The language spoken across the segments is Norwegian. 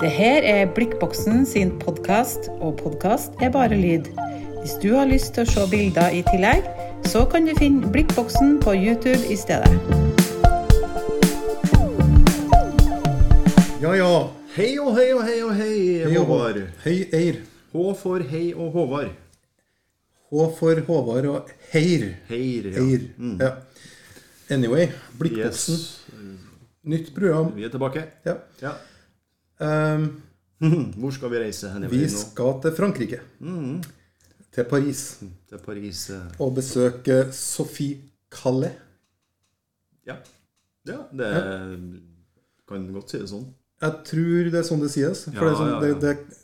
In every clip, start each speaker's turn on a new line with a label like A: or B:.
A: Det her er Blikkboksen sin podkast, og podkast er bare lyd. Hvis du har lyst til å se bilder i tillegg, så kan du finne Blikkboksen på YouTube i stedet.
B: Ja, ja.
C: Hei og hei og hei og hei,
B: Hei,
C: Håvard.
B: Hei, Eir.
C: H for hei og Håvard.
B: H for Håvard og Heir.
C: Heir, ja. Mm.
B: Eir. Ja. Anyway, Blikkboksen.
C: Yes,
B: Nytt program.
C: vi er tilbake.
B: Ja.
C: Ja.
B: Ehm,
C: Hvor skal vi reise hen i
B: vi
C: verden nå? Mm.
B: skal til Frankrike. Til Paris.
C: Til Paris. eh,
B: Og besøke Sophie Calais.
C: Ja. ja, det kan godt si det sånn.
B: Jeg tror det er sånn det sies. For
C: Ja,
B: det er sånn,
C: ja, ja. Mm.
B: det, det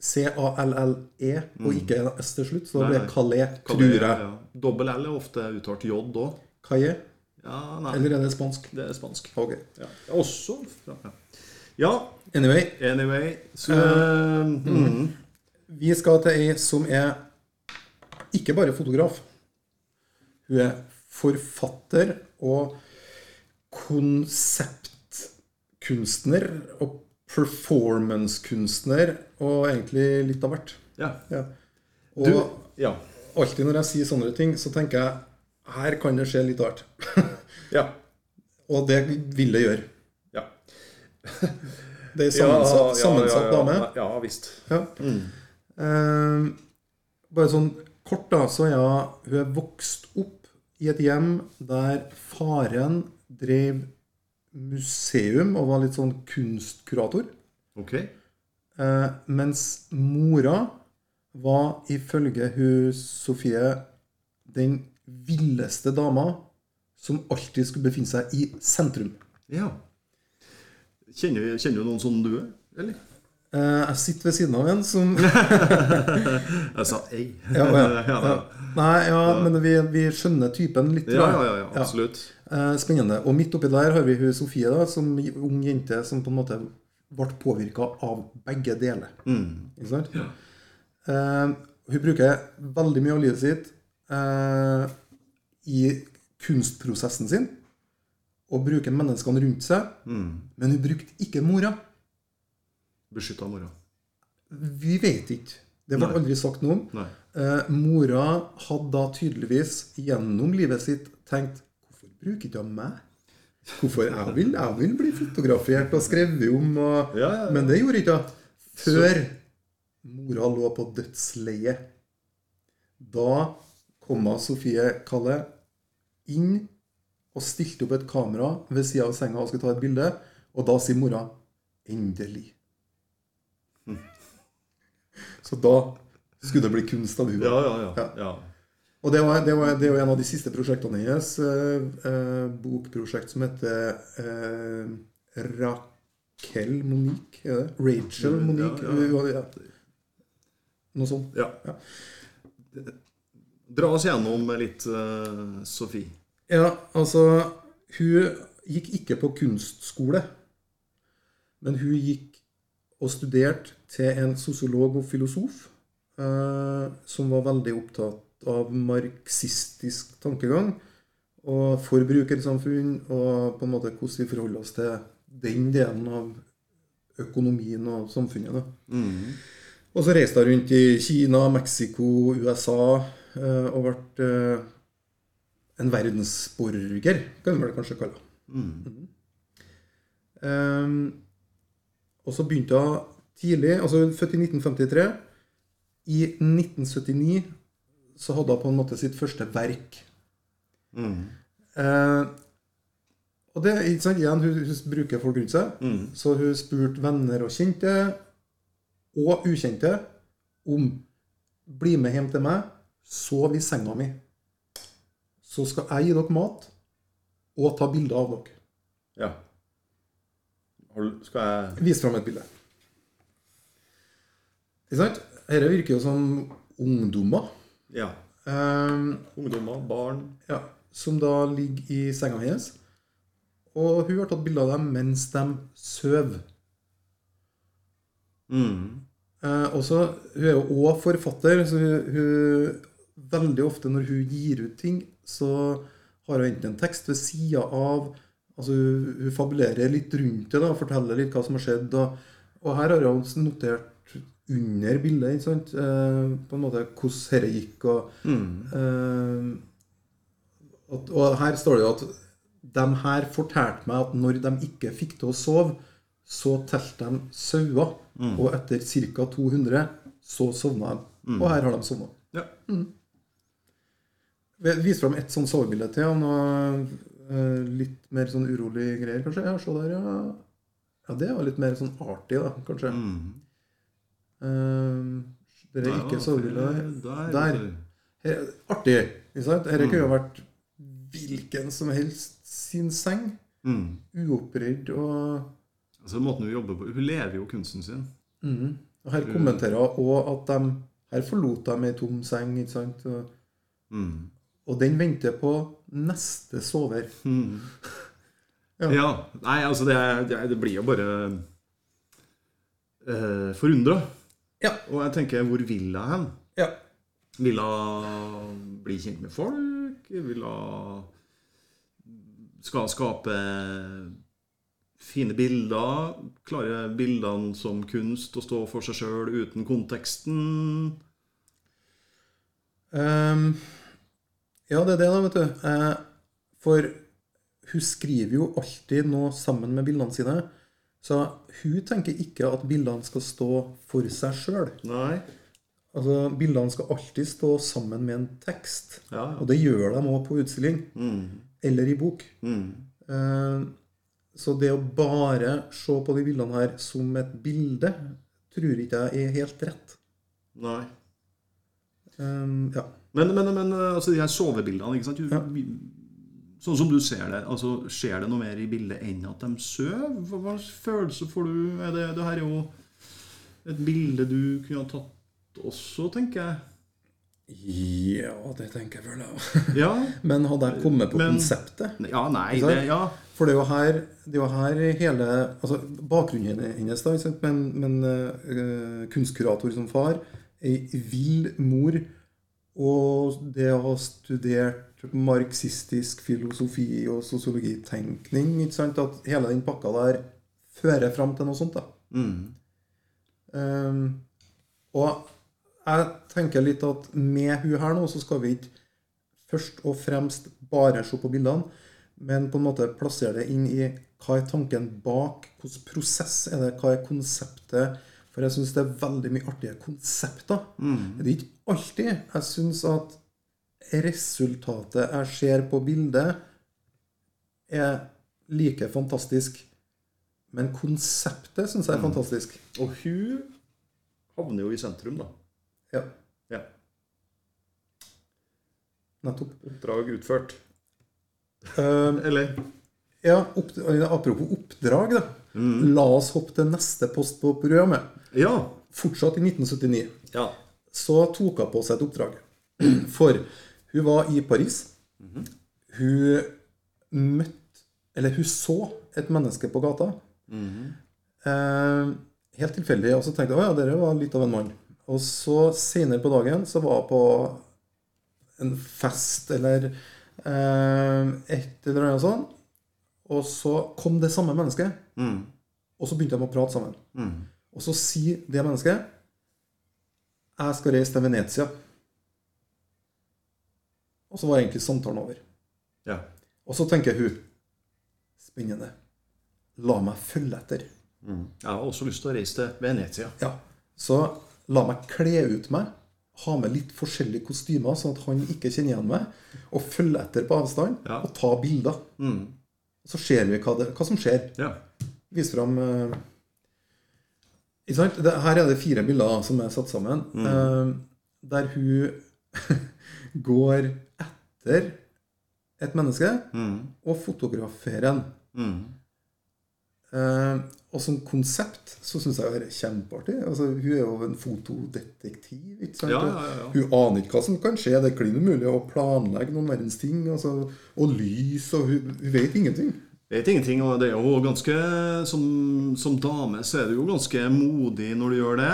B: C-A-L-L-E, E, og ikke en S til slutt. Så da
C: Nei,
B: blir
C: nei.
B: det Calais,
C: Kalle-
B: tror jeg.
C: ja. Dobbel L er ofte uttalt J òg.
B: Calais?
C: Ja, nei,
B: Eller er det spansk?
C: det er spansk.
B: Ok.
C: Ja. Også fra ja. Ja,
B: Anyway,
C: anyway så,
B: Mhm.
C: mm.
B: Vi skal til ei som er ikke bare fotograf. Hun er forfatter og konseptkunstner og performancekunstner og egentlig litt av hvert.
C: ja.
B: Ja. Og
C: Du, ja.
B: alltid når jeg sier sånne ting, så tenker jeg her kan det skje litt av hvert.
C: Ja.
B: og det vil det gjøre.
C: ja.
B: Det er en sammensatt, sammensatt dame.
C: Ja, visst.
B: Ja.
C: Mm.
B: Eh, bare sånn kort, da, så ja, hun er vokst opp i et hjem der faren drev museum og var litt sånn kunstkurator.
C: Ok.
B: eh, mens mora var ifølge hun Sofie den villeste dama som alltid skulle befinne seg i sentrum.
C: Ja. Kjenner, kjenner du noen sånn du er, eller?
B: Eh, jeg sitter ved siden av en som
C: Jeg sa ei.
B: Ja, å ja.
C: ja,
B: ja. Nei, ja, men vi, vi skjønner typen litt.
C: ja,
B: da.
C: ja, ja, absolutt.
B: Eh, Spennende. Og midt oppi der har vi hun Sofie, da, som ung jente som på en måte ble påvirka av begge deler.
C: Mm.
B: Ikke sant? Eh, hun bruker veldig mye av livet sitt eh, i kunstprosessen sin. Og bruker menneskene rundt seg.
C: Mm.
B: Men hun brukte ikke mora.
C: Beskytta mora.
B: Vi vet ikke. Det ble
C: Nei.
B: aldri sagt noe om.
C: Nei.
B: Eh, mora hadde da tydeligvis gjennom livet sitt tenkt Hvorfor bruker ikke hun meg? Hvorfor jeg vil, jeg vil bli fotografert og skrevet om. Og,
C: Ja, ja, ja.
B: Men det gjorde ikke hun. Før mora lå på dødsleiet. Da kom hun Sofie Kalle inn og stilte opp et kamera ved sida av senga og skulle ta et bilde. Og da sier mora 'endelig'. Så da skulle det bli kunst av henne.
C: Ja, ja, ja. ja.
B: Og det, var, det, var, det er jo en av de siste prosjektene hennes. Eh, eh, bokprosjekt som heter eh, Raquel Monique? Er det? Rachel Monique?
C: Ja,
B: Ja, Noe sånt.
C: ja. Dra oss gjennom litt, eh, Sofie.
B: Ja, altså Hun gikk ikke på kunstskole, men hun gikk og studerte til en sosiolog og filosof eh, som var veldig opptatt av marxistisk tankegang og forbrukersamfunn, og på en måte hvordan vi forholder oss til den delen av økonomien og samfunnet. da. Og så reiste hun rundt i Kina, Mexico, USA eh, og ble eh, en verdensborger, kan vi vel kanskje kalle henne. Ehm, og så begynte hun tidlig, altså hun er født i 1953. I 1979 så hadde hun på en måte sitt første verk. Eh, og det er ikke sant, igjen, hun, hun bruker folk rundt seg. Så hun spurte venner og kjente, og ukjente, om bli med hjem til meg, sov i senga mi. Så skal jeg gi dere mat, og ta bilder av dere.
C: Ja. Har du- Skal jeg
B: Vis fram et bilde. Ikke sant? Dette virker jo som ungdommer.
C: Ja.
B: Eh,
C: Ungdommer, barn
B: ja, som da ligger i senga hennes. Og hun har tatt bilder av dem mens de sover. Eh, også, hun er jo òg forfatter, så hun, hun Veldig ofte når hun gir ut ting, så har hun enten en tekst ved sida av Altså hun, hun fabulerer litt rundt det, da, forteller litt hva som har skjedd, og, Og her har jeg også notert under bildet, ikke sant? Eh, på en måte hvordan dette gikk. Og, eh, at, og her står det jo at de her fortalte meg at når de ikke fikk til å sove, så telte de sauer. Og etter ca. 200 så sovna de. Og her har de sovna.
C: Ja.
B: Vi viser fram ett sånn sovebilde til. Og noe eh, litt mer sånn urolig greier, kanskje. Ja, se der, ja. Ja, det var litt mer sånn artig, da, kanskje.
C: Mm.
B: Eh, dere er ikke sovebilde
C: Der.
B: der.
C: Der.
B: Her, artig, ikke sant? Dette kunne jo vært hvilken som helst sin seng.
C: Mm.
B: Uoppredd og
C: Altså måten Hun jobber på Hun lever jo kunsten sin.
B: Og Her kommenterer hun òg at de her forlot dem ei tom seng. ikke sant? Og,
C: Mm.
B: og den venter på neste sover. Ja.
C: Ja. Nei, altså, det, er- det, er- det blir jo bare eh, forundra.
B: Ja.
C: Og jeg tenker, hvor vil jeg hen?
B: Ja.
C: Vil hun bli kjent med folk? Vil hun Skal hun skape fine bilder? Klare bildene som kunst å stå for seg sjøl uten konteksten?
B: Ehm, ja, det er det, da, vet du. Eh, for hun skriver jo alltid noe sammen med bildene sine. Så hun tenker ikke at bildene skal stå for seg sjøl.
C: Nei.
B: Altså, bildene skal alltid stå sammen med en tekst.
C: Ja, ja.
B: Og det gjør de òg på utstilling. Eller i bok. Eh, Så det å bare se på de bildene her som et bilde, tror ikke jeg er helt rett.
C: Nei.
B: Eh, ja.
C: Men, men, men altså, de her sovebildene ikke sant? Du, Sånn som du ser det, altså, skjer det noe mer i bildet enn at de sover? Hva, hva slags følelse får du? Er det, det her er jo et bilde du kunne ha tatt også, tenker jeg.
B: ja, det tenker jeg vel, ja.
C: Ja.
B: Men hadde jeg kommet på
C: Men-
B: konseptet
C: Ja, nei,
B: sant?
C: det, ja.
B: For det er jo her, det er jo her hele altså Bakgrunnen hennes, da, ikke sant? men, men eh, kunstkurator som far, ei vill mor, og det å ha studert marxistisk filosofi og sosiologitenkning ikke sant? At hele den pakka der fører fram til noe sånt. da. Ehm, og jeg tenker litt at med hun her nå, så skal vi ikke først og fremst bare se på bildene, men på en måte plassere det inn i hva er tanken bak, hvilken prosess er det, hva er konseptet? For jeg syns det er veldig mye artige konsepter. Det er ikke alltid jeg syns at resultatet jeg ser på bildet, er like fantastisk. Men konseptet syns jeg er fantastisk.
C: Og hun havner jo i sentrum, da.
B: Ja,
C: Ja.
B: nettopp.
C: Oppdrag utført.
B: Ehm,
C: Eller
B: Ja, opp, apropos oppdrag, da. La oss hoppe til neste post på programmet.
C: Ja.
B: Fortsatt i 1979.
C: ja.
B: Så tok hun på seg et oppdrag. For hun var i Paris. Hun møtte Eller hun så et menneske på gata. eh, helt tilfeldig. Og så tenkte jeg å ja, dere var litt av en mann. Og så senere på dagen så var hun på en fest eller eh, et eller annet sånt. Og så kom det samme mennesket, og så begynte de å prate sammen. Og så sier det mennesket jeg skal reise til Venezia. Og så var egentlig samtalen over.
C: ja.
B: Og så tenker hun Spennende. La meg følge etter.
C: Jeg har også lyst til å reise til Venezia.
B: Ja. Så la meg kle ut meg, ha med litt forskjellige kostymer, sånn at han ikke kjenner igjen meg, og følge etter på avstand
C: Ja.
B: og ta bilder. Så ser vi hva, det, hva som skjer.
C: Ja.
B: Vis fram eh, Ikke sant? Det, her er det fire bilder som er satt sammen,
C: Mm.
B: eh, der hun går etter et menneske
C: Mm.
B: og fotograferer en. Eh, og som konsept så syns jeg det er kjempeartig. Altså, hun er jo en fotodetektiv. Ikke sant?
C: Ja, ja, ja, ja.
B: Hun aner ikke hva som kan skje. Det er klin umulig å planlegge noen verdens ting. Altså, og lys, og hun, hun vet ingenting.
C: Vet ingenting, og det er jo ganske Som, som dame så er du jo ganske modig når du gjør det.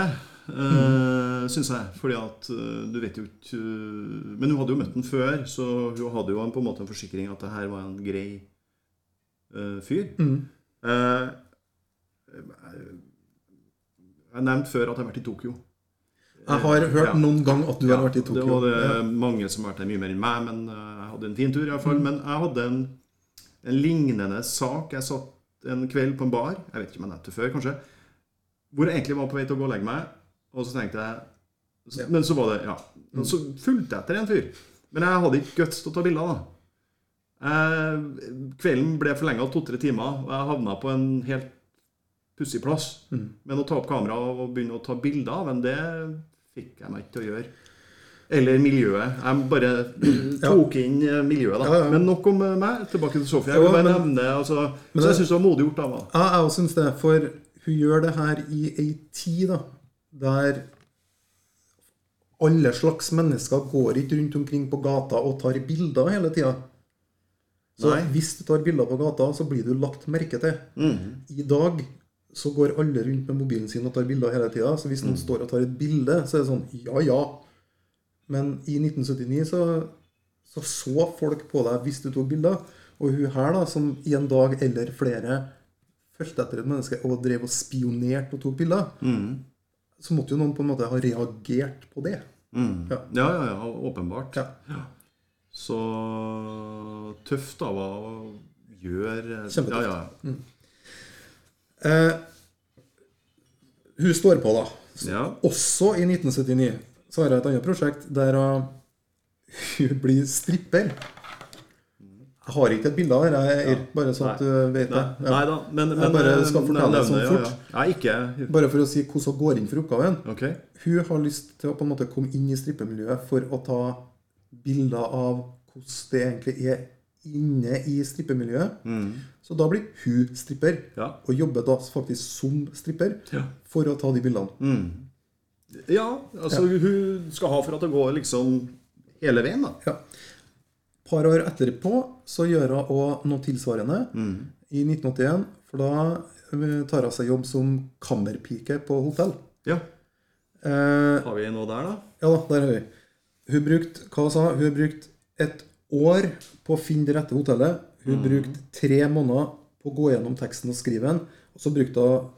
C: Uh, Syns jeg. Fordi at eh, du vet jo ikke eh, Men hun hadde jo møtt den før, så hun hadde jo en, på en måte en forsikring at det her var en grei eh, fyr. Eh, Jeg nevnte før at jeg har vært i Tokyo.
B: Jeg har hørt
C: Ja.
B: noen gang at du har
C: Ja,
B: vært i Tokyo.
C: Det var det
B: Ja. Mm.
C: mange som har vært der mye mer enn meg, men eh, jeg hadde en fin tur i hvert fall. Men jeg hadde en, en lignende sak. Jeg satt en kveld på en bar, jeg vet ikke om jeg nevnte det før, kanskje, hvor jeg egentlig var på vei til å gå og legge meg, og så tenkte jeg så,
B: Ja. Mm.
C: Men så var det Ja. Og så fulgte jeg etter en fyr. Men jeg hadde ikke guts til å ta bilder, da. Eh, kvelden ble forlenga to-tre timer, og jeg havna på en helt pussig plass.
B: Mm.
C: Men å ta opp kameraet og begynne å ta bilder av en, det fikk jeg meg ikke til å gjøre. Eller miljøet. Jeg bare tok inn eh, miljøet, da.
B: Ja, ja.
C: Men nok om eh, meg. Tilbake til Sofie. Jeg
B: Jo,
C: vil bare
B: men-
C: nevne altså, Så
B: Men det-
C: jeg syns det var modig gjort av henne.
B: Ja, jeg også syns det. For hun gjør det her i ei tid da, der alle slags mennesker går ikke rundt omkring på gata og tar bilder hele tida. Så
C: Nei.
B: hvis du tar bilder på gata, så blir du lagt merke til. I dag så går alle rundt med mobilen sin og tar bilder hele tida. Så hvis noen står og tar et bilde, så er det sånn ja, ja. Men i 1979 så, så så folk på deg hvis du tok bilder. Og hun her, da, som i en dag eller flere fulgte etter et menneske og drev og spionerte og tok bilder,
C: Mm.
B: så måtte jo noen på en måte ha reagert på det. Ja.
C: Ja, ja, ja, åpenbart.
B: Ja.
C: Så tøft av henne å gjøre
B: Kjempetøft. Mm.
C: Ja, ja.
B: Eh, hun står på, da.
C: ja.
B: Også i 1979 så har jeg et annet prosjekt der hun hun blir stripper. Jeg har ikke et bilde av det, jeg er bare sånn at du vet det.
C: Nei,
B: Ja.
C: nei da, men, men
B: Jeg bare skal
C: eh,
B: fortelle det sånn
C: nevne, Ja,
B: fort.
C: ja. Nei, ikke
B: Bare for å si hvordan hun går inn for oppgaven.
C: Ok.
B: Hun har lyst til å på en måte komme inn i strippemiljøet for å ta bilder av hvordan det egentlig er inne i strippemiljøet. Så da blir hun stripper,
C: Mm. Ja.
B: og jobber da faktisk som stripper
C: Ja. Mm.
B: for å ta de bildene.
C: ja, altså hun skal ha for at det går liksom hele veien, da.
B: Ja. par år etterpå så gjør hun også noe tilsvarende
C: Mm.
B: i 1981. For da eh, tar hun seg jobb som kammerpike på hotell.
C: Ja.
B: Eh,
C: Har vi noe der, da?
B: ja da, der har vi. Hun brukte hva sa hun? Hun brukte et år på å finne det rette hotellet. Hun brukte tre måneder på å gå gjennom teksten og skrive den. Og så brukte hun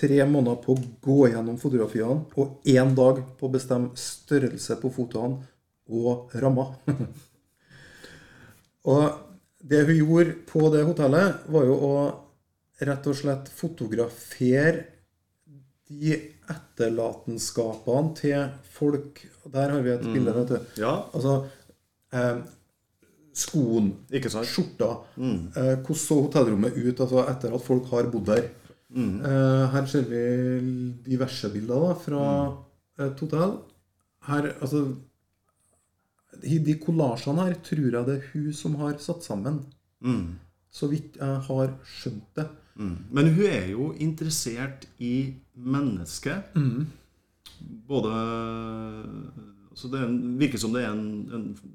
B: tre måneder på å gå gjennom fotografiene og én dag på å bestemme størrelse på fotoene og rammer. og det hun gjorde på det hotellet, var jo å rett og slett fotografere de etterlatenskapene til folk Der har vi et bilde, vet du.
C: Ja.
B: Altså eh, skoen,
C: Ikke sant?
B: skjorta eh, Hvordan så hotellrommet ut altså, etter at folk har bodd der? Eh, her ser vi diverse bilder da, fra et hotell. Her, altså i De kollasjene her tror jeg det er hun som har satt sammen. Så vidt jeg har skjønt det. Mm.
C: Men hun er jo interessert i mennesket.
B: Mm.
C: Både Så det er en, virker som det er en, en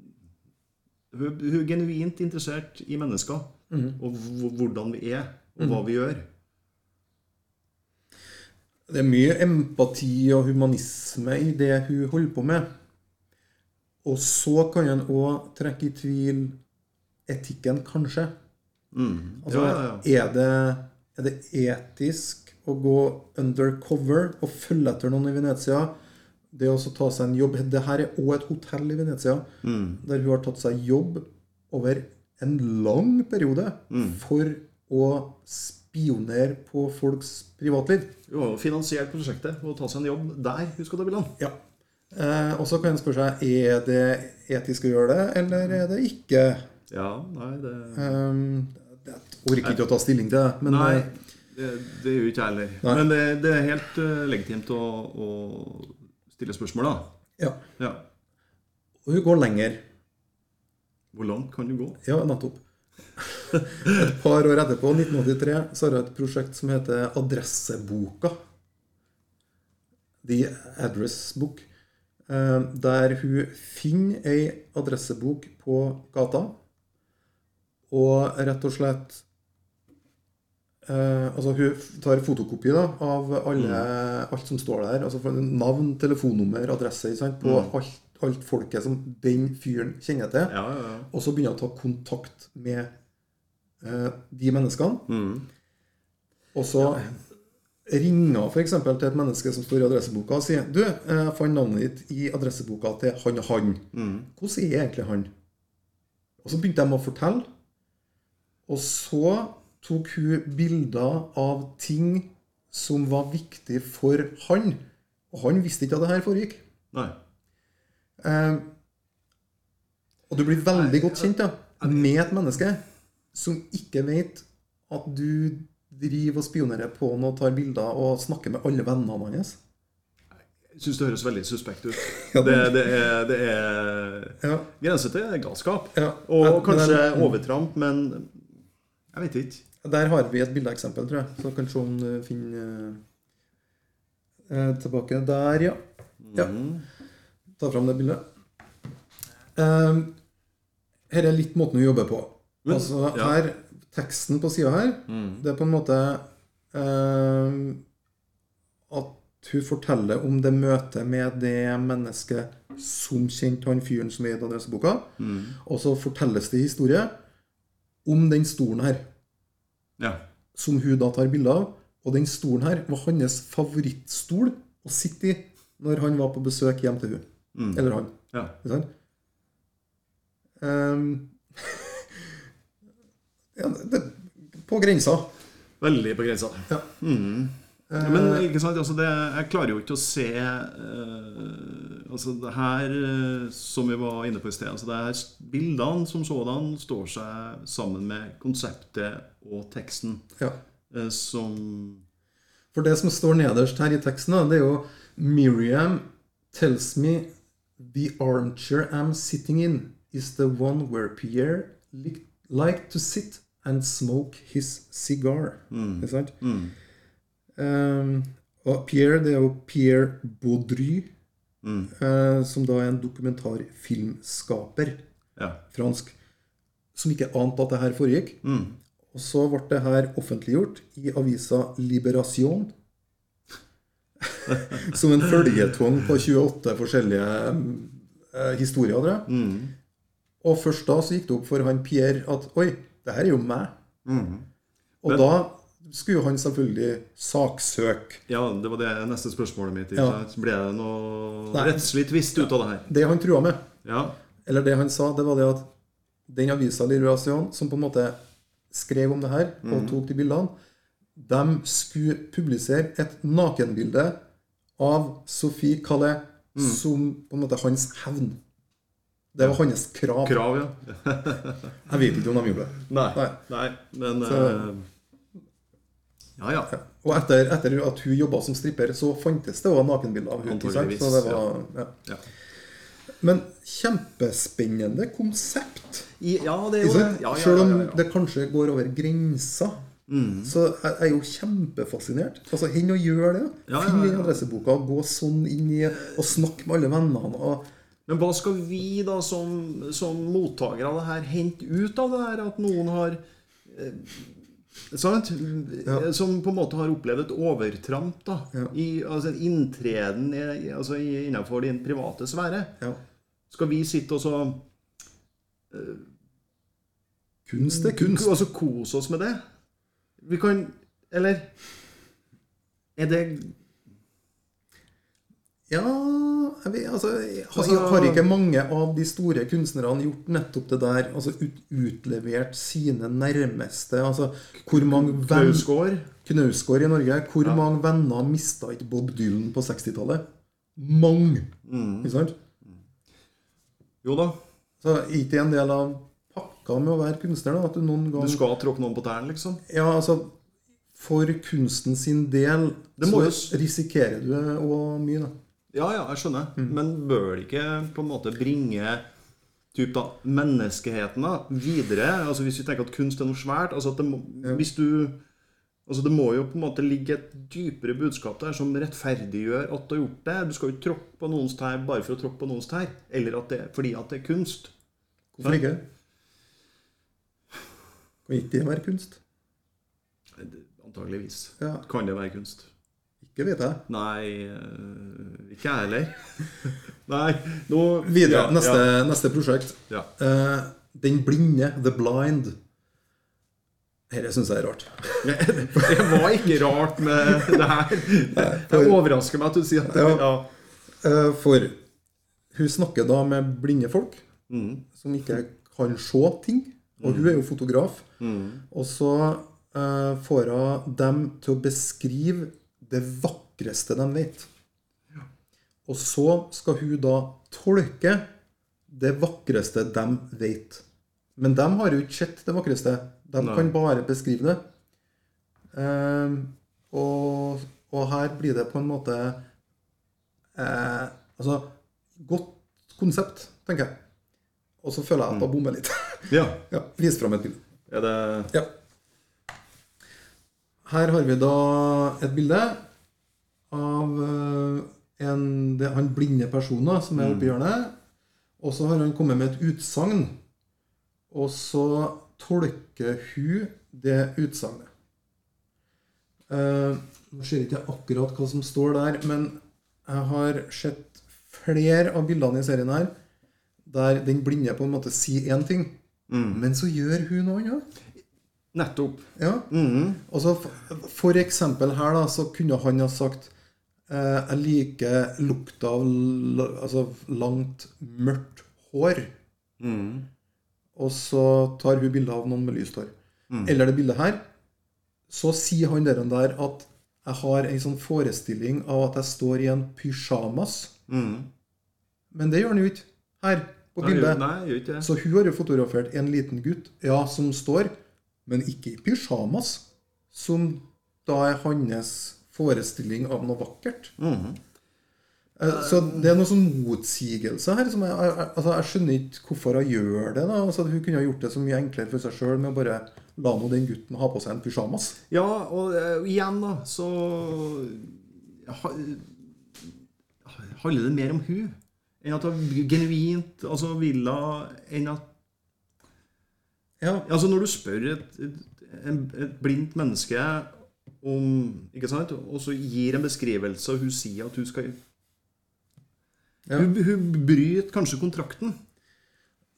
C: hun, hun er genuint interessert i mennesker.
B: Mm.
C: Og hv- hvordan vi er, og hva vi gjør.
B: Det er mye empati og humanisme i det hun holder på med. Og så kan en òg trekke i tvil etikken, kanskje. Altså,
C: Mm. Ja, ja,
B: Er, det, er det etisk å gå undercover og følge etter noen i Venezia? Det å så ta seg en jobb Det her er òg et hotell i Venezia
C: Mm.
B: der hun har tatt seg jobb over en lang periode
C: Mm.
B: for å spionere på folks privatliv.
C: Hun har jo finansiert prosjektet og ta seg en jobb der hun skal ta bildene.
B: Ja. Eh, og så kan en spørre seg er det etisk å gjøre det, eller er det ikke.
C: Ja, nei, det
B: Um, jeg orker ikke å ta stilling til det. Men
C: Eh, Nei,
B: eh,
C: det, det gjør ikke jeg heller.
B: Nei.
C: Men det, det er helt eh, legitimt å, å stille spørsmål, da.
B: eh, ja.
C: Ja.
B: Og hun går lenger.
C: Hvor langt kan du gå?
B: Ja, nettopp. Et par år etterpå, 1983, så har jeg et prosjekt som heter Adresseboka. The Address Book. eh, Der hun finner ei adressebok på gata, og rett og slett eh, altså Hun tar fotokopi da, av alle, alt som står der. altså for Navn, telefonnummer, adresse ikke sant, på alt, alt folket som den fyren kjenner til.
C: Ja, ja, ja.
B: Og så begynner jeg å ta kontakt med eh, de menneskene. Og så ringer f.eks. til et menneske som står i adresseboka og sier 'Du, jeg fant navnet ditt i adresseboka til han og han'. Hvordan er egentlig han? Og så begynte de å fortelle. Og så tok hun bilder av ting som var viktig for han. Og han visste ikke at det her foregikk.
C: Nei.
B: Eh, og du blir veldig godt kjent da, med et menneske som ikke vet at du driver og spionerer på han og tar bilder og snakker med alle vennene hans.
C: Jeg syns det høres veldig suspekt ut.
B: Ja,
C: Det,
B: men-
C: det er, det er
B: Ja.
C: grense til galskap.
B: Ja.
C: Og
B: Men-
C: kanskje
B: men-
C: overtramp, men jeg vet ikke.
B: Der har vi et bildeeksempel, tror jeg. Så kanskje hun eh, finner eh, eh, tilbake der, ja. ja.
C: Mm.
B: Ta fram det bildet. Um, her er litt måten hun jobber på.
C: Men-
B: altså
C: ja. Mm.
B: her, Teksten på sida her, det er på en måte um, at hun forteller om det møtet med det mennesket som kjente han fyren som er i adresseboka.
C: Mm.
B: Og så fortelles det historie om den stolen her
C: Ja.
B: som hun da tar bilde av. Og den stolen her var hans favorittstol å sitte i når han var på besøk hjem til hun. Eller han.
C: ja.
B: Ikke sant? Ehm, ja, det, på grensa.
C: Veldig på grensa.
B: Ja.
C: Ja, Men
B: Eh,
C: ikke sant, altså det, jeg klarer jo ikke å se eh, Altså det her eh, som vi var inne på i sted altså det her Bildene som sådan står seg sammen med konseptet og teksten
B: ja.
C: eh, som
B: For det som står nederst her i teksten, da, det er jo Miriam tells me the armchair I'm sitting in is the one where Pierre li- liked to sit and smoke his cigar. Ikke sant? Um, og Pierre, det er jo Pierre Baudry, eh, som da er en dokumentarfilmskaper,
C: Ja.
B: fransk, som ikke ante at det her foregikk. Og så ble det her offentliggjort i avisa Liberation. som en føljetong på 28 forskjellige eh, historier. tror jeg. Og først da så gikk det opp for han Pierre at Oi, det her er jo meg. Og da skulle jo han selvfølgelig saksøke.
C: ja, det var det neste spørsmålet mitt. ikke
B: Ja.
C: sant? Ble det noe
B: Nei.
C: rettslig tvist ut av det her?
B: Det han trua med,
C: Ja.
B: eller det han sa, det var det at den avisa Liberation, som på en måte skrev om det her og tok de bildene, de skulle publisere et nakenbilde av Sophie Calais som på en måte hans hevn. Det var hans krav.
C: Krav, ja.
B: Jeg vet ikke om de gjorde det.
C: Nei.
B: Nei.
C: Nei. Men
B: Så-
C: eh, Ja, ja.
B: Og etter, etter at hun jobba som stripper, så fantes det også nakenbilder av henne.
C: Antageligvis,
B: Så det var, ja.
C: ja.
B: Men kjempespennende konsept.
C: I, ja, det er jo
B: Ikke
C: det.
B: sant?
C: Ja, ja,
B: Selv om
C: ja, ja, Mm. ja.
B: det kanskje går over grensa, så jeg jeg er jo kjempefascinert. Altså, Hen og gjør det.
C: Ja, ja,
B: Finn den
C: ja.
B: adresseboka, gå sånn inn i og snakk med alle vennene. Og,
C: Men hva skal vi da som, som mottakere av det her hente ut av det her? At noen har eh, Sant?
B: Ja.
C: Som på en måte har opplevd et overtramp. da
B: Ja.
C: i, altså En inntreden i- i- altså, i- innenfor din private sfære.
B: ja.
C: Skal vi sitte og så
B: Kunst er kunst.
C: Og så altså, kose oss med det? Vi kan Eller Er det
B: Ja jeg vet, altså, jeg har,
C: Altså-
B: har ikke mange av de store kunstnerne gjort nettopp det der? Altså ut, utlevert sine nærmeste? Altså, hvor mange venn-
C: Knausgård?
B: Knausgård i Norge. Hvor mange venner mista ikke Bob Dylan på 60-tallet? Mange.
C: Mm.
B: Ikke sant?
C: Jo da.
B: Så er ikke det en del av pakka med å være kunstner? da, at du noen
C: Du
B: gang...
C: skal tråkke noen på tærne, liksom?
B: Ja, altså, For kunsten sin del
C: Det må
B: så risikerer du òg mye. da.
C: Ja, ja, jeg skjønner.
B: Mm.
C: Men bør det ikke på en måte bringe typ da, menneskeheten da, videre? Altså Hvis vi tenker at kunst er noe svært altså at det må, hvis du, altså det må jo på en måte ligge et dypere budskap der som rettferdiggjør at du har gjort det. Du skal jo ikke tråkke på noens tær bare for å tråkke på noens tær. Eller at det, fordi at det er kunst.
B: Hvorfor ikke? Kan ikke det være kunst?
C: Antageligvis.
B: Ja.
C: Kan det være kunst?
B: Ikke vet jeg.
C: Nei, øh, ikke jeg heller. Nei, nå
B: Videre.
C: Ja,
B: neste, neste prosjekt.
C: Ja, ja.
B: Eh, den blinde, The Blind. Dette syns jeg er rart.
C: Det var ikke rart med det her. Det overrasker meg at du sier det.
B: Ja.
C: Ja.
B: Eh, For hun snakker da med blinde folk som ikke kan se ting. Og hun er jo fotograf. Og så eh, får hun dem til å beskrive det vakreste de vet. Og så skal hun da tolke det vakreste de vet. Men de har jo ikke sett det vakreste. De
C: Nei.
B: kan bare beskrive det. Ehm, og, og her blir det på en måte eh, Altså, godt konsept, tenker jeg. Og så føler jeg at jeg bommer litt.
C: ja.
B: ja, Vis fram et bilde.
C: Er det
B: Ja. Her har vi da et bilde av eh, en, det, han blinde personen som er oppe i hjørnet. Og så har han kommet med et utsagn. Og så tolker hun det utsagnet. Eh, Nå ser ikke jeg akkurat hva som står der, men jeg har sett flere av bildene i serien her der den blinde på en måte sier én ting, men så gjør hun noe annet.
C: Nettopp.
B: Ja.
C: Mm-hmm.
B: Og så for, for eksempel her, da, så kunne han ha sagt eh, Jeg liker lukta av l altså langt, mørkt hår.
C: Mm-hmm.
B: Og så tar hun bilde av noen med lyst hår.
C: Mm.
B: Eller det bildet her. Så sier han der, der at jeg har en sånn forestilling av at jeg står i en pysjamas. Men det gjør han jo ikke her på
C: Mm-hmm. Nei,
B: bildet.
C: Nei, gjør ikke det.
B: Så hun har jo fotografert en liten gutt ja, som står, men ikke i pysjamas, som da er hans forestilling av noe vakkert.
C: Mhm.
B: Eh, Så det er noe sånn motsigelse her. Som jeg, jeg- jeg- altså jeg skjønner ikke hvorfor hun gjør det. da. Altså hun kunne ha gjort det så mye enklere for seg sjøl med å bare la nå den gutten ha på seg en pysjamas.
C: Ja, og eh, igjen, da, så ha, handler det mer om hun enn at hun genuint altså ville enn at
B: Ja.
C: Altså Når du spør et, et, en- et blindt menneske om ikke sant, Og så gir en beskrivelse, og hun sier at hun skal
B: Ja.
C: hun, hun bryter kanskje kontrakten.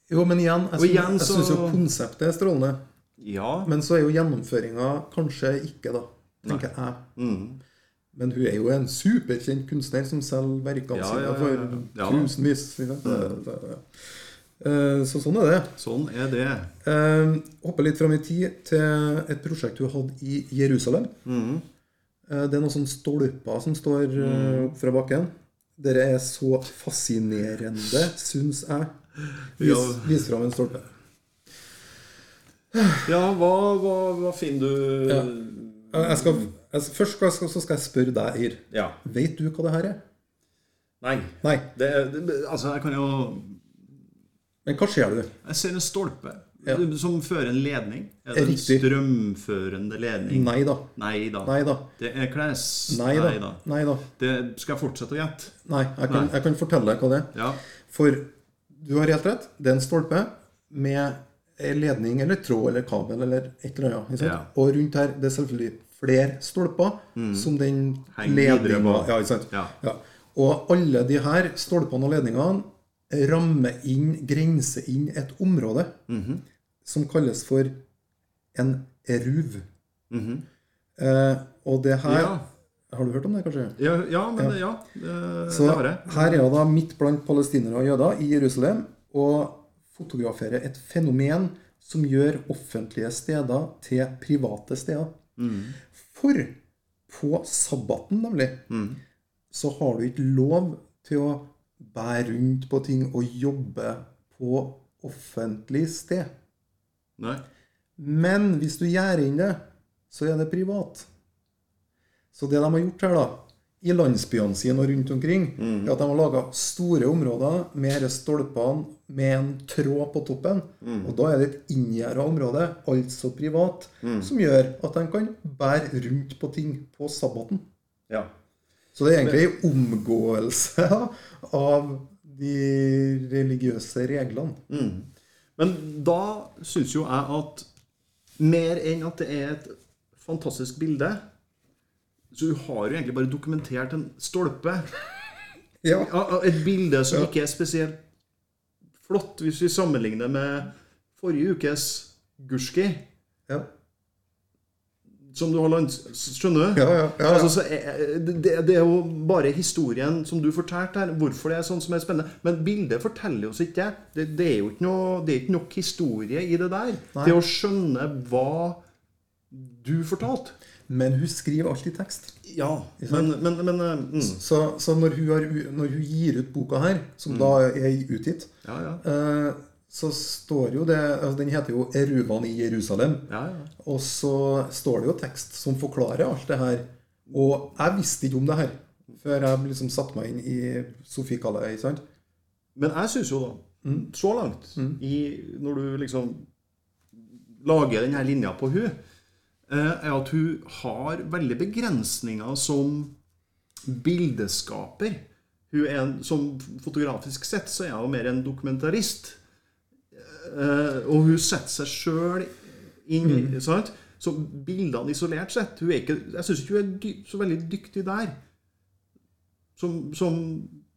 B: Jo, men igjen, jeg
C: Og igjen
B: syns- jeg
C: så-
B: syns jo konseptet er strålende.
C: Ja.
B: Men så er jo gjennomføringa kanskje ikke, da. Tenker jeg.
C: Mm.
B: Men hun er jo en superkjent kunstner som selger verkene
C: Ja,
B: sine
C: ja, ja,
B: for
C: ja. Ja Mm. da.
B: tusenvis. ikke sant? Det- det- det- Eh, Så sånn er det.
C: Sånn er det.
B: Eh, Hopper litt fram i tid til et prosjekt hun hadde i Jerusalem.
C: Mm.
B: Eh, Det er noen sånne stolper som står
C: Mm.
B: eh, opp fra bakken. Dere er så fascinerende, syns jeg. Vis,
C: Ja.
B: vis fram en stolpe.
C: Ja, hva, hva, hva finner du Ja.
B: Eh, Jeg skal, jeg, først skal, skal- så skal jeg spørre deg, Yr. Vet du hva det her er?
C: Nei.
B: Nei.
C: Det, det, altså, jeg kan jo
B: Men hva ser du?
C: Jeg ser en stolpe
B: Ja.
C: som fører en ledning. Er det en
B: Riktig.
C: strømførende ledning?
B: Nei da.
C: Nei da.
B: Nei da.
C: Det er kles...
B: Nei da. Nei da.
C: Det skal jeg fortsette å gjette?
B: Nei, jeg kan,
C: Nei.
B: jeg kan fortelle deg hva det er.
C: Ja.
B: For du har helt rett. Det er en stolpe med en ledning eller tråd eller kabel eller et eller annet. Ikke sant?
C: Ja. Mm.
B: Og rundt her det er selvfølgelig flere stolper som den
C: Henger videre
B: ledninga
C: på.
B: ja, ikke sant?
C: Ja.
B: Og alle de her stolpene og ledningene rammer inn, grenser inn et område
C: Mhm.
B: som kalles for en eruv. eh, og det her
C: Mhm. Ja.
B: Har du hørt om det, kanskje?
C: Ja, ja men ja. det,
B: Så
C: det har jeg.
B: her er hun da midt blant palestinere og jøder i Jerusalem og fotograferer et fenomen som gjør offentlige steder til private steder.
C: Mm.
B: For på sabbaten, nemlig,
C: Mm.
B: så har du ikke lov til å bære rundt på ting og jobbe på offentlig sted.
C: Nei.
B: Men hvis du gjør inn det, så er det privat. Så det de har gjort her, da, i landsbyene sine og rundt omkring, er at de har laga store områder med disse stolpene med en tråd på toppen. Og da er det et inngjerda område, altså privat, som gjør at de kan bære rundt på ting på sabbaten.
C: Ja.
B: Så det er egentlig en omgåelse av de religiøse reglene.
C: Men da syns jo jeg at mer enn at det er et fantastisk bilde Så du har jo egentlig bare dokumentert en stolpe.
B: Ja.
C: Ja, ja, Et bilde som ikke er spesielt flott, hvis vi sammenligner med forrige ukes Gurski.
B: ja.
C: Som du har lands... Skjønner du?
B: Ja, ja, ja, ja.
C: Altså, så er, det, det er jo bare historien som du fortalte her, hvorfor det er sånn som er spennende. Men bildet forteller oss ikke det. Det, det er jo ikke, noe, det er ikke nok historie i det der.
B: Nei.
C: Til å skjønne hva du fortalte.
B: Men hun skriver alltid tekst.
C: Ja, men, men, men eh, mm.
B: Så, så når, hun har, u- når hun gir ut boka her, som da er utgitt,
C: Ja, ja.
B: eh, så står jo det altså Den heter jo 'Eruvan i Jerusalem'.
C: ja, ja.
B: Og så står det jo tekst som forklarer alt det her. Og jeg visste ikke om det her før jeg liksom satte meg inn i Sofie Kalei. sant?
C: Men jeg syns jo, da, så langt, i, når du liksom lager denne linja på hun, eh, er at hun har veldig begrensninger som bildeskaper. Hun er en, som fotografisk sett så er hun mer en dokumentarist. Eh, og hun setter seg sjøl inn i sant? Så bildene isolert sett hun er ikke, Jeg syns ikke hun er dy, så veldig dyktig der. Som, som,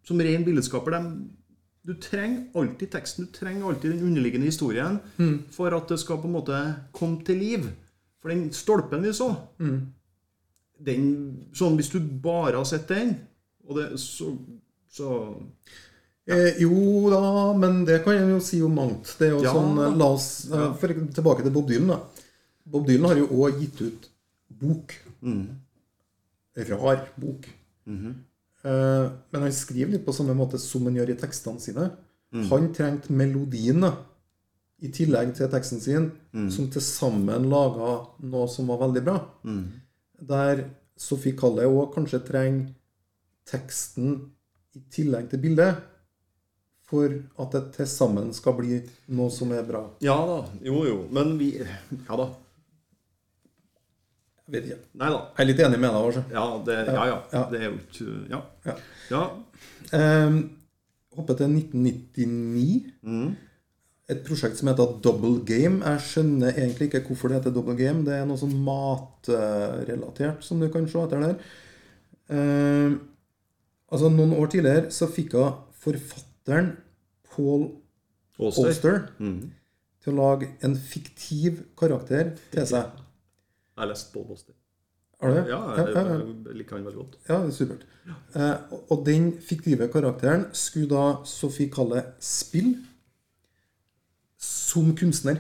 C: som ren bildeskaper. dem- du trenger alltid teksten, du trenger alltid den underliggende historien for at det skal på en måte komme til liv. For den stolpen vi så Mm. den, sånn, Hvis du bare har sett den, og det, så, så
B: Eh, jo da, men det kan en jo si om mangt. Det er jo
C: Ja.
B: sånn, eh, la oss, eh, for, Tilbake til Bob Dylan. da. Bob Dylan har jo òg gitt ut bok. Rar bok. eh, men han skriver litt på samme måte som han gjør i tekstene sine. Han trengte melodien da, i tillegg til teksten sin, som til sammen laga noe som var veldig bra. Der Sophie Calle òg kanskje trenger teksten i tillegg til bildet for at det til sammen skal bli noe som er bra.
C: Ja da. Jo, jo. Men vi Ja da.
B: Jeg vet ikke.
C: Nei da.
B: Jeg er litt enig med deg. Også.
C: Ja, det, ja, ja.
B: Ja.
C: Det er jo ikke Ja.
B: Ja.
C: ja.
B: Um, hoppe til 1999. Et prosjekt som heter Double Game. Jeg skjønner egentlig ikke hvorfor det heter Double Game. Det er noe sånn matrelatert som du kan se etter der. Um, altså Noen år tidligere så fikk hun forfatteren Paul
C: Åster.
B: Oster til å lage en fiktiv karakter til seg.
C: Jeg har lest Pål Åster.
B: Har du det?
C: Ja,
B: ja,
C: jeg,
B: ja, ja.
C: jeg liker han veldig godt.
B: Ja, det er supert. Eh, og- og den fiktive karakteren skulle da Sofie Kalle spille som kunstner.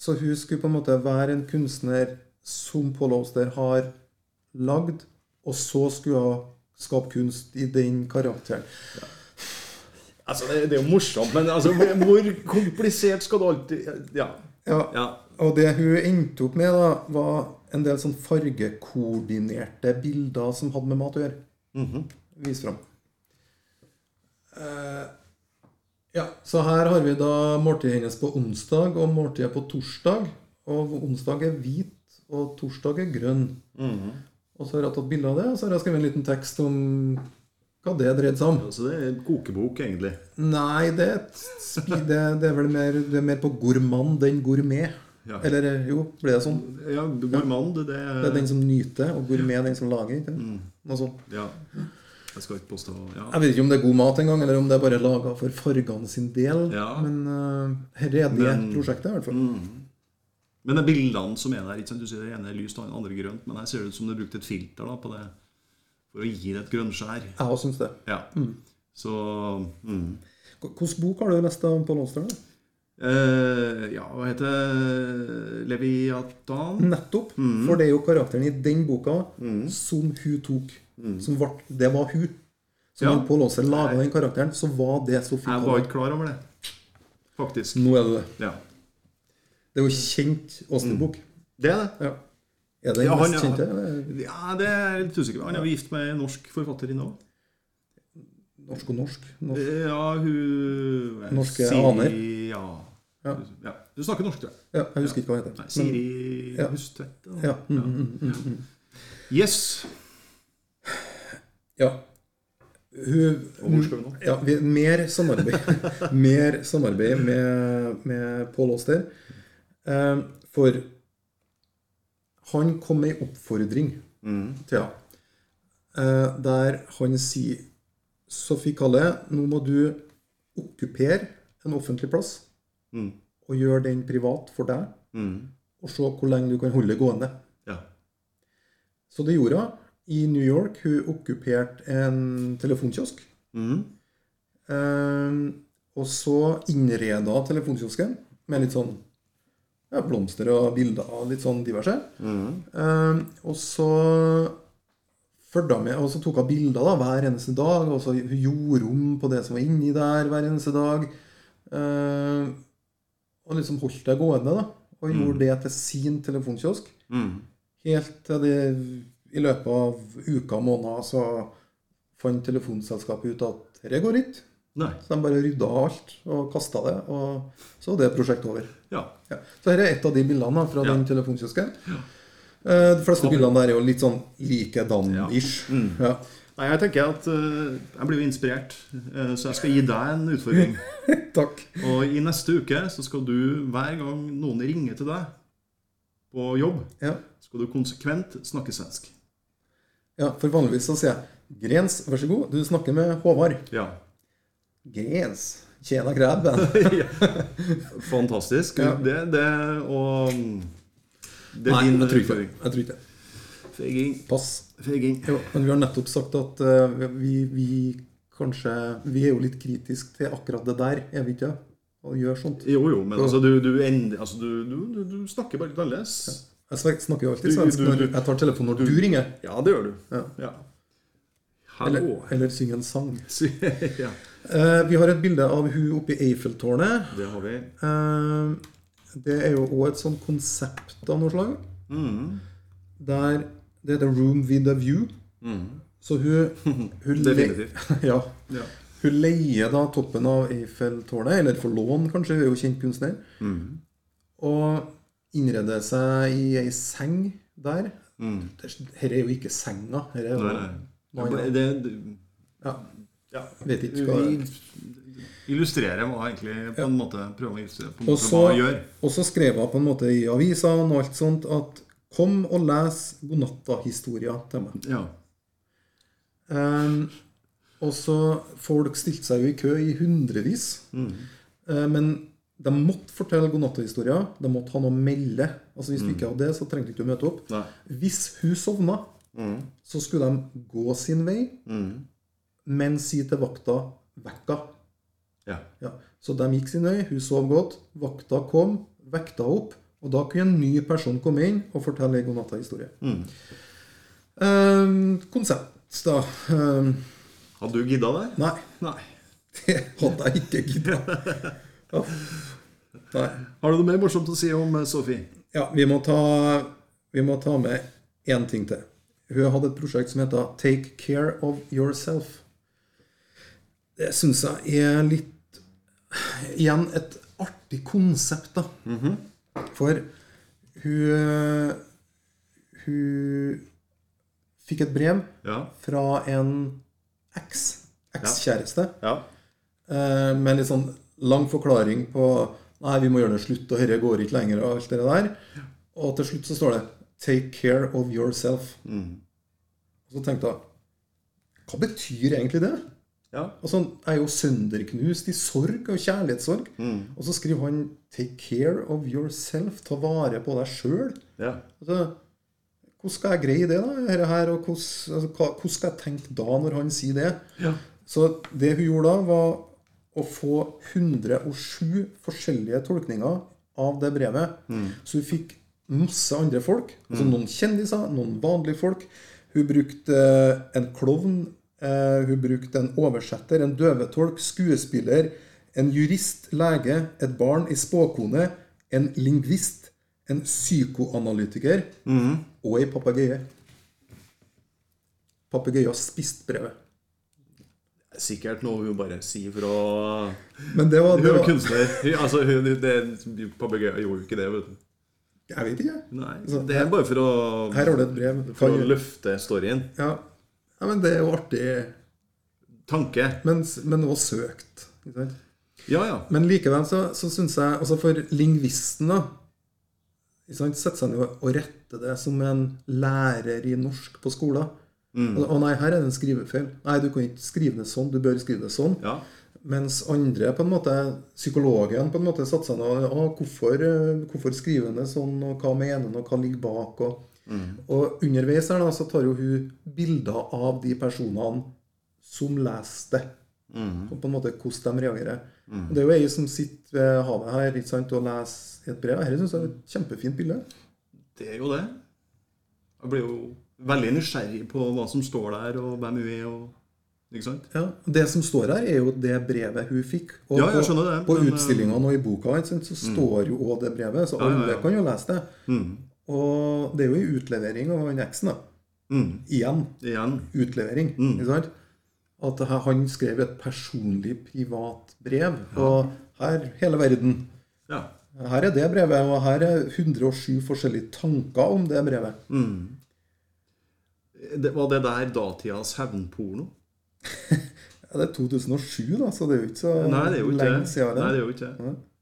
B: Så hun skulle på en måte være en kunstner som Paul Auster har lagd, og så skulle hun skape kunst i den karakteren.
C: Altså, det, det er jo morsomt, men altså, hvor, hvor komplisert skal det alltid Ja.
B: Ja,
C: ja.
B: Og det hun endte opp med, da, var en del sånn fargekoordinerte bilder som hadde med mat å gjøre. Vis fram. Eh, ja, så her har vi da måltidet hennes på onsdag og måltidet på torsdag. Og onsdag er hvit, og torsdag er grønn. Og så har jeg tatt bilde av det, og så har jeg skrevet en liten tekst om hva det dreide seg om.
C: Altså, det er en kokebok, egentlig.
B: Nei, det, er et spi- det, det er vel mer, det er mer på gourmand enn gourmet.
C: Ja.
B: Eller jo, ble det sånn?
C: Ja, Gourmand, det er
B: Det er den som nyter, og gourmet er den som lager. Ikke? Noe sånt.
C: Ja. Jeg skal ikke påstå ja.
B: Jeg vet ikke om det er god mat engang, eller om det er bare laga for fargene sin del.
C: Ja.
B: Men eh, her er det
C: Men- Mm.
B: prosjektet, i hvert fall.
C: Men de bildene som er der ikke sant? Du sier det ene er lyst, det andre er grønt. Men her ser det ut som det er brukt et filter da, på det for å gi det et grønnskjær.
B: Jeg òg syns det.
C: Ja. Så mm.
B: H- Hvilken bok har du lest av Pål Åster? da?
C: eh, Ja, hva heter det? Leviatan?
B: Nettopp.
C: Mm.
B: For det er jo karakteren i den boka som hun tok. Som ble, det var hun. Så
C: Mm. Ja.
B: når Pål Åster laga den karakteren, så var det Sofie
C: Jeg var
B: Kalle.
C: ikke klar over det, faktisk.
B: Nå er det det.
C: Ja.
B: Det er jo kjent Åstin-bok.
C: Det er det.
B: Ja. Er det
C: Mm.
B: den
C: Ja, han,
B: mest
C: ja.
B: kjente? eller?
C: Ja, det er jeg litt usikker på. Han er jo gift med en norsk forfatterinne òg.
B: Norsk og norsk. norsk.
C: Ja, hun eh,
B: Norske
C: Siri,
B: aner.
C: Ja.
B: Ja.
C: ja. Du snakker norsk, du.
B: Ja, jeg husker ikke hva den
C: Nei,
B: heter. Men,
C: Siri
B: Ja.
C: Hustvedt. da.
B: ja. Mm, mm,
C: Yes.
B: ja. Hun,
C: Og hvor skal vi nå?
B: Ja, vi, mer samarbeid. mer samarbeid med, med Pål Åster. Eh, for han kom med ei oppfordring til henne. Eh, der han sier Sophie Calle, nå må du okkupere en offentlig plass. Og gjøre den privat for deg. og se hvor lenge du kan holde det gående.
C: Ja.
B: Så det gjorde hun. I New York hun okkuperte en telefonkiosk.
C: Mhm.
B: Ehm, og så innreda hun telefonkiosken med litt sånn ja, blomster og bilder og litt sånn diverse. Ehm, og så fulgte hun med, og så tok hun bilder da, hver eneste dag. Og så hun gjorde om på det som var inni der hver eneste dag. Ehm, og liksom holdt det gående, da. Og gjorde det til sin telefonkiosk.
C: Mhm.
B: Helt til det i løpet av uka og måneder så fant telefonselskapet ut at dette går ikke.
C: Nei.
B: Så de bare rydda alt og kasta det, og så var det prosjektet over.
C: Ja.
B: Ja. Så her er et av de bildene da, fra
C: Ja.
B: den telefonkiosken. Eh, De fleste bildene der er jo litt sånn likedan-ish. Ja. Mm.
C: Nei, jeg tenker at eh, jeg blir jo inspirert, eh, så jeg skal gi deg en utfordring.
B: Takk.
C: Og i neste uke så skal du, hver gang noen ringer til deg på jobb,
B: Ja.
C: skal du konsekvent snakke svensk.
B: ja, for vanligvis så sier jeg Grens, vær så god, du snakker med Håvard.
C: Ja.
B: Grens. Tjena grabben.
C: Fantastisk.
B: Ja.
C: Det, det, og mm, Det
B: Nei,
C: er din
B: jeg tror ikke det.
C: utfordring.
B: Jeg tror ikke det.
C: Feiging.
B: Pass.
C: Feiging.
B: Jo, men vi har nettopp sagt at eh, vi, vi kanskje Vi er jo litt kritisk til akkurat det der, er vi ikke? Å gjøre sånt.
C: Jo, jo, men altså, du, du, end- altså, du, du, du, du snakker bare litt annerledes.
B: Jeg snak- snakker jo alltid
C: Du-
B: svensk
C: du-
B: når
C: du-
B: jeg tar telefonen når du ringer.
C: Ja, det gjør du.
B: Ja.
C: Ja.
B: Eller,
C: Hallo.
B: eller synger en sang.
C: ja,
B: Eh, vi har et bilde av hun oppe i Eiffeltårnet.
C: det har vi.
B: Eh, det er jo òg et sånt konsept av noe slag.
C: Mhm.
B: Der det heter 'Room with a view'. Så hun, hun le-
C: Mm. Definitivt.
B: ja.
C: Ja.
B: Hun leier da toppen av Eiffeltårnet, eller får lån, kanskje, hun er jo kjent kunstner.
C: Mm.
B: Og innreder seg i ei seng der. Dette er jo ikke senga. Her er jo
C: Mm. Nei, nei.
B: Nei,
C: Det, det,
B: Ja,
C: ja.
B: vet ikke hva det er.
C: Vi illustrerer hva egentlig på en måte prøver å illustrere på en
B: Og
C: måte
B: så,
C: hva vi gjør.
B: og så skrev hun på en måte i avisene og alt sånt at Kom og les godnatta-historia til meg.
C: Ja.
B: Ehm, og så Folk stilte seg jo i kø i hundrevis.
C: Mm.
B: Eh, men de måtte fortelle godnatta-historia. De måtte ha noe å melde. Altså Hvis du ikke hadde det, så trengte du ikke å møte opp.
C: Mm. Nei. Mm.
B: Hvis hun sovna, så skulle de gå sin vei, men si til vakta 'vekka'.
C: Ja.
B: Ja. Så de gikk sin vei, hun sov godt, vakta kom, vekta opp, og da kunne en ny person komme inn og fortelle ei godnatta-historie. Eh, konsept, da. Eh,
C: Hadde du gidda det?
B: nei,
C: Nei.
B: det hadde jeg ikke gidda. Ja. Nei.
C: Har du noe mer morsomt å si om eh, Sophie?
B: Ja, vi må ta, vi må ta med én ting til. Hun hadde et prosjekt som heter 'Take care of yourself'. Det syns jeg er litt Igjen et artig konsept, da. For hun Hun fikk et brev
C: Ja.
B: fra en eks. Ekskjæreste.
C: Ja.
B: Eh, med litt sånn lang forklaring på Nei, vi må gjøre det slutt, og dette går ikke lenger, og alt det der. Og til slutt så står det 'Take care of yourself'. Og så tenkte jeg Hva betyr egentlig det?
C: ja.
B: Altså, Jeg er jo sønderknust i sorg og kjærlighetssorg. Og så skriver han 'Take care of yourself'. Ta vare på deg sjøl.
C: ja.
B: Altså, hvordan skal jeg greie det, da? Her, her, og hvordan, altså, hva, hvordan skal jeg tenke da, når han sier det?
C: Ja.
B: Så det hun gjorde da, var å få 107 forskjellige tolkninger av det brevet. Så hun fikk masse andre folk. Altså noen kjendiser, noen vanlige folk. Hun brukte eh, en klovn. eh, Hun brukte en oversetter, en døvetolk, skuespiller, en jurist, lege, et barn, ei spåkone, en lingvist, en psykoanalytiker og ei papegøye. Papegøyen spiste brevet.
C: Sikkert noe hun bare sier for å
B: Men det var,
C: Hun
B: det
C: er jo
B: var
C: kunstner. Altså, hun, det- Papegøyen gjorde jo ikke det, vet du.
B: Jeg vet ikke.
C: Nei,
B: Så
C: Det er bare for å,
B: Sånn, Her har du et brev.
C: for
B: Kan-
C: å løfte storyen.
B: ja. ja, men det er jo artig.
C: Tanke.
B: Men, men også søkt. ikke sant?
C: Ja, ja.
B: Men likevel så, så syns jeg altså For lingvisten, da ikke sant, setter seg ned og og retter det som en lærer i norsk på skolen. Altså, 'Å nei, her er det en skrivefeil. Nei, du kan ikke skrive det sånn. Du bør skrive det sånn.'
C: ja.
B: Mens andre, på en måte, psykologen, på en måte satte seg ned og «Å, hvorfor, eh, hvorfor skriver han det sånn, og hva mener han, og hva ligger bak? Og, og underveis her da, så tar jo hun bilder av de personene som leser det. Og på en måte hvordan de reagerer. Og det er jo ei som sitter ved havet her ikke sant, og leser et brev. Dette syns jeg er et kjempefint bilde.
C: Det er jo det. Jeg blir jo veldig nysgjerrig på hva som står der, og hvem hun er, og Ikke sant?
B: Ja, og Det som står her, er jo det brevet hun fikk. Og
C: Ja, jeg
B: på-
C: skjønner det,
B: På
C: men, eh, Mm.
B: utstillingene og i boka ikke sant, så står jo òg det brevet, så alle kan jo lese det. Og det er jo en utlevering av han eksen. da.
C: Mm.
B: Igjen
C: Igjen.
B: utlevering. Ikke sant? At her- han skrev et personlig, privat brev. Og her, hele verden
C: Ja.
B: Her er det brevet, og her er 107 forskjellige tanker om det brevet.
C: Mm. Det, var det der datidas hevnporno?
B: Ja, det er 2007, da, så det er jo ikke så
C: Nei, det er jo ikke
B: lenge siden.
C: Nei, det
B: det.
C: er jo ikke det.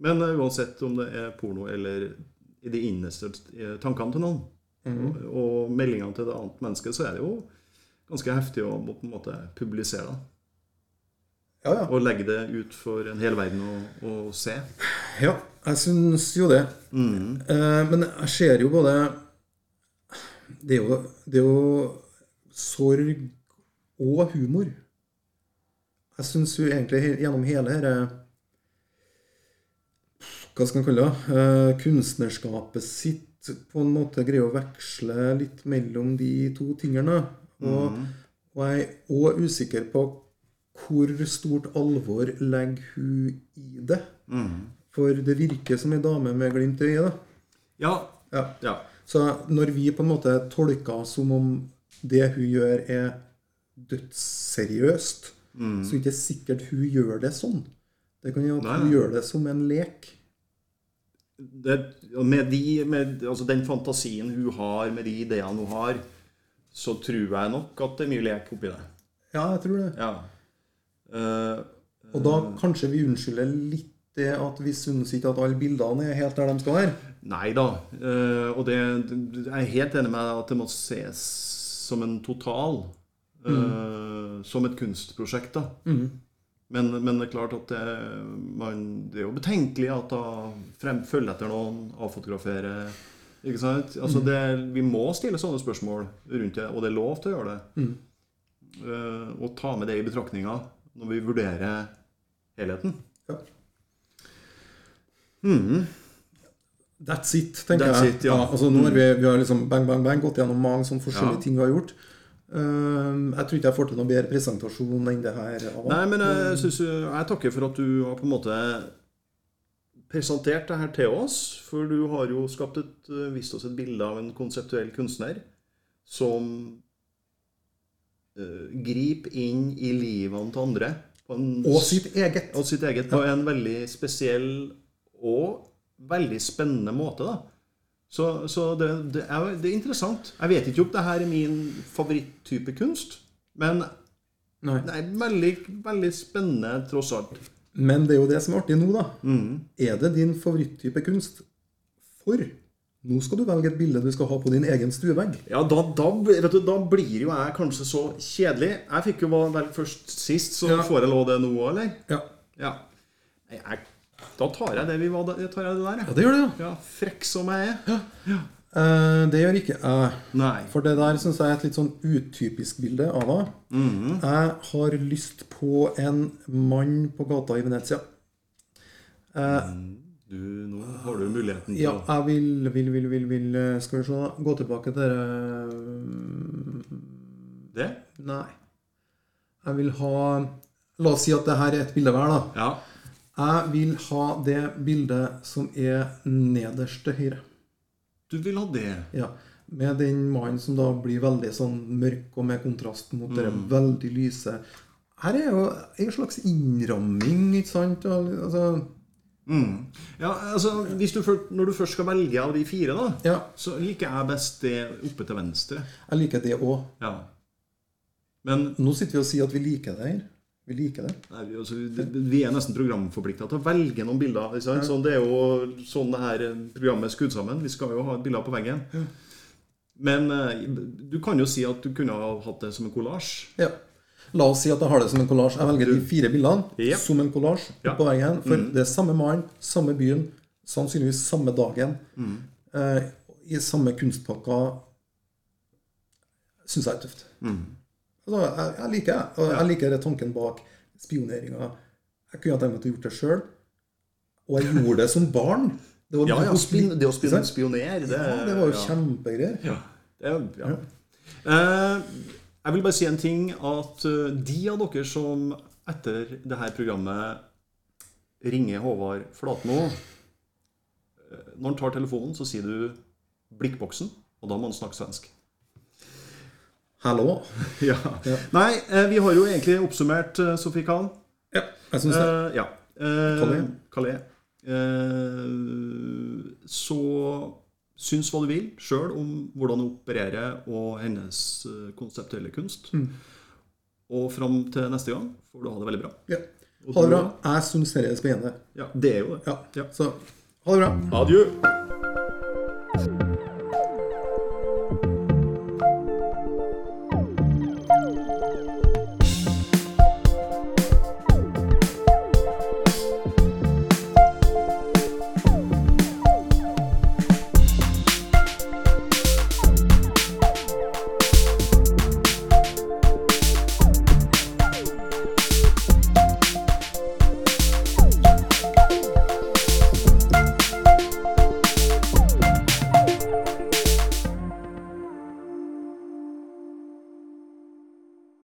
C: Men eh, uansett om det er porno eller i de innerste eh, tankene til noen,
B: Mhm.
C: og, og meldingene til det annet mennesket, så er det jo ganske heftig å må på en måte publisere det.
B: Ja, ja.
C: Og legge det ut for en hel verden å, å se.
B: Ja, jeg syns jo det. Eh, men jeg ser jo både det er jo, det er jo sorg og humor. Jeg syns jo egentlig he- gjennom hele dette Hva skal man kalle det? eh, kunstnerskapet sitt på en måte greier å veksle litt mellom de to tingene. Og, og jeg er òg usikker på hvor stort alvor legger hun i det. For det virker som ei dame med glimt i øyet. da.
C: Ja.
B: Ja.
C: ja.
B: Så når vi på en måte tolker som om det hun gjør, er dødsseriøst, så er det ikke sikkert hun gjør det sånn. Det kan jo at
C: Mm. Nei,
B: hun
C: nei.
B: gjør det som en lek.
C: Det, og med, de, med altså den fantasien hun har, med de ideene hun har, så tror jeg nok at det er mye lek oppi det.
B: Ja, jeg tror det.
C: Ja. Eh,
B: Og da kanskje vi unnskylder litt det at vi syns ikke at alle bildene er helt der de skal være.
C: Nei da. eh, Og det, jeg er helt enig med deg at det må ses som en total. eh, Som et kunstprosjekt, da. Men, men det er klart at det, man, det er jo betenkelig at da frem, følge etter noen, avfotografere ikke sant? Altså det, Vi må stille sånne spørsmål rundt det, og det er lov til å gjøre det. Eh, og ta med det i betraktninga når vi vurderer helheten.
B: Ja. That's it, tenker
C: Hmm. That's
B: jeg.
C: it, ja. Hmm.
B: altså nå har vi, vi har liksom bang, bang, bang gått gjennom mange sånne forskjellige
C: Ja.
B: ting vi har gjort. Ehm, jeg tror ikke jeg får til noen bedre presentasjon enn det her. Av.
C: Nei, men eh, jeg, synes, jeg takker for at du har på en måte presentert det her til oss. For du har jo skapt et, eh, vist oss et bilde av en konseptuell kunstner som eh, griper inn i livene til andre. På en,
B: Og sitt eget.
C: og sitt eget på en veldig spesiell og veldig spennende måte. da. Så, så det, det, er, det er interessant. Jeg vet ikke om det her er min favoritttype kunst, men
B: Nei.
C: Nei, veldig, veldig spennende tross alt.
B: Men det er jo det som er artig nå, da.
C: Hmm.
B: Er det din favoritttype kunst? For nå skal du velge et bilde du skal ha på din egen stuevegg.
C: Ja, da, da, vet du, da blir jo jeg kanskje så kjedelig. Jeg fikk jo vel først sist, så
B: Ja.
C: får jeg lov det nå òg, eller?
B: Ja.
C: Ja. Nei, jeg, da tar jeg det vi var da tar jeg det der, jeg.
B: det gjør det, ja.
C: Ja, frekk som jeg er.
B: Eh, det gjør ikke jeg.
C: Nei.
B: For det der syns jeg er et litt sånn utypisk bilde av deg. Jeg har lyst på en mann på gata i Venezia.
C: Du, nå har du muligheten til
B: Ja,
C: å
B: jeg vil, vil, vil, vil, vil eh, Skal vi se, da. gå tilbake til det
C: det.
B: Nei. Jeg vil ha La oss si at det her er et bilde hver, da.
C: Ja.
B: Jeg vil ha det bildet som er nederst til høyre.
C: Du vil ha det.
B: Ja. Med den mannen som da blir veldig sånn mørk, og med kontrast mot det veldig lyse. Her er jo en slags innramming, ikke sant? Og, altså,
C: Ja, altså, hvis du, først- Når du først skal velge av de fire, da,
B: ja,
C: så liker jeg best det oppe til venstre.
B: jeg liker det òg.
C: Ja. Men
B: Nå sitter vi og sier at vi liker det her. Vi liker det.
C: Nei, vi- altså, det- vi er nesten programforplikta til å velge noen bilder. Ikke sant? Sånn, det er jo sånn det her programmet er skudd sammen. Vi skal jo ha bilder på veggen. Men eh, du kan jo si at du kunne ha hatt det som en kollasj.
B: Ja. La oss si at jeg har det som en kollasj. Jeg velger de fire bildene
C: Ja.
B: som en kollasj
C: Ja. Mm.
B: på veggen. For det er samme mann, samme byen, sannsynligvis samme dagen.
C: Mm.
B: Eh, I samme kunstpakka syns jeg er tøft.
C: Mm.
B: Altså, jeg, jeg liker det. Og jeg liker det tanken bak spioneringa. Jeg kunne ha tenkt meg til å gjort det sjøl. Og jeg gjorde det som barn. Det var
C: Ja, ja,
B: noe-
C: spin, det å
B: Ikke
C: spin,
B: sant?
C: spionere, det,
B: Ja, det var jo
C: ja.
B: kjempegreier.
C: Ja. Det, er- ja. Eh, jeg vil bare si en ting. At eh, de av dere som etter det her programmet ringer Håvard Flatmo eh, Når han tar telefonen, så sier du 'Blikkboksen', og da må han snakke svensk.
B: Hallo.
C: Ja. Nei, eh, vi har jo egentlig oppsummert, eh, Sofie Kahn.
B: Ja, jeg syns
C: Eh,
B: det.
C: ja. Eh,
B: Calais.
C: Calais. Eh, så syns hva du vil sjøl om hvordan hun opererer og hennes eh, konseptuelle kunst. Og fram til neste gang får du ha det veldig bra.
B: Ja. Ha det bra. Jeg syns dette er spennende.
C: Ja, det er jo det.
B: Ja.
C: Ja.
B: Så ha det bra.
C: Adjø.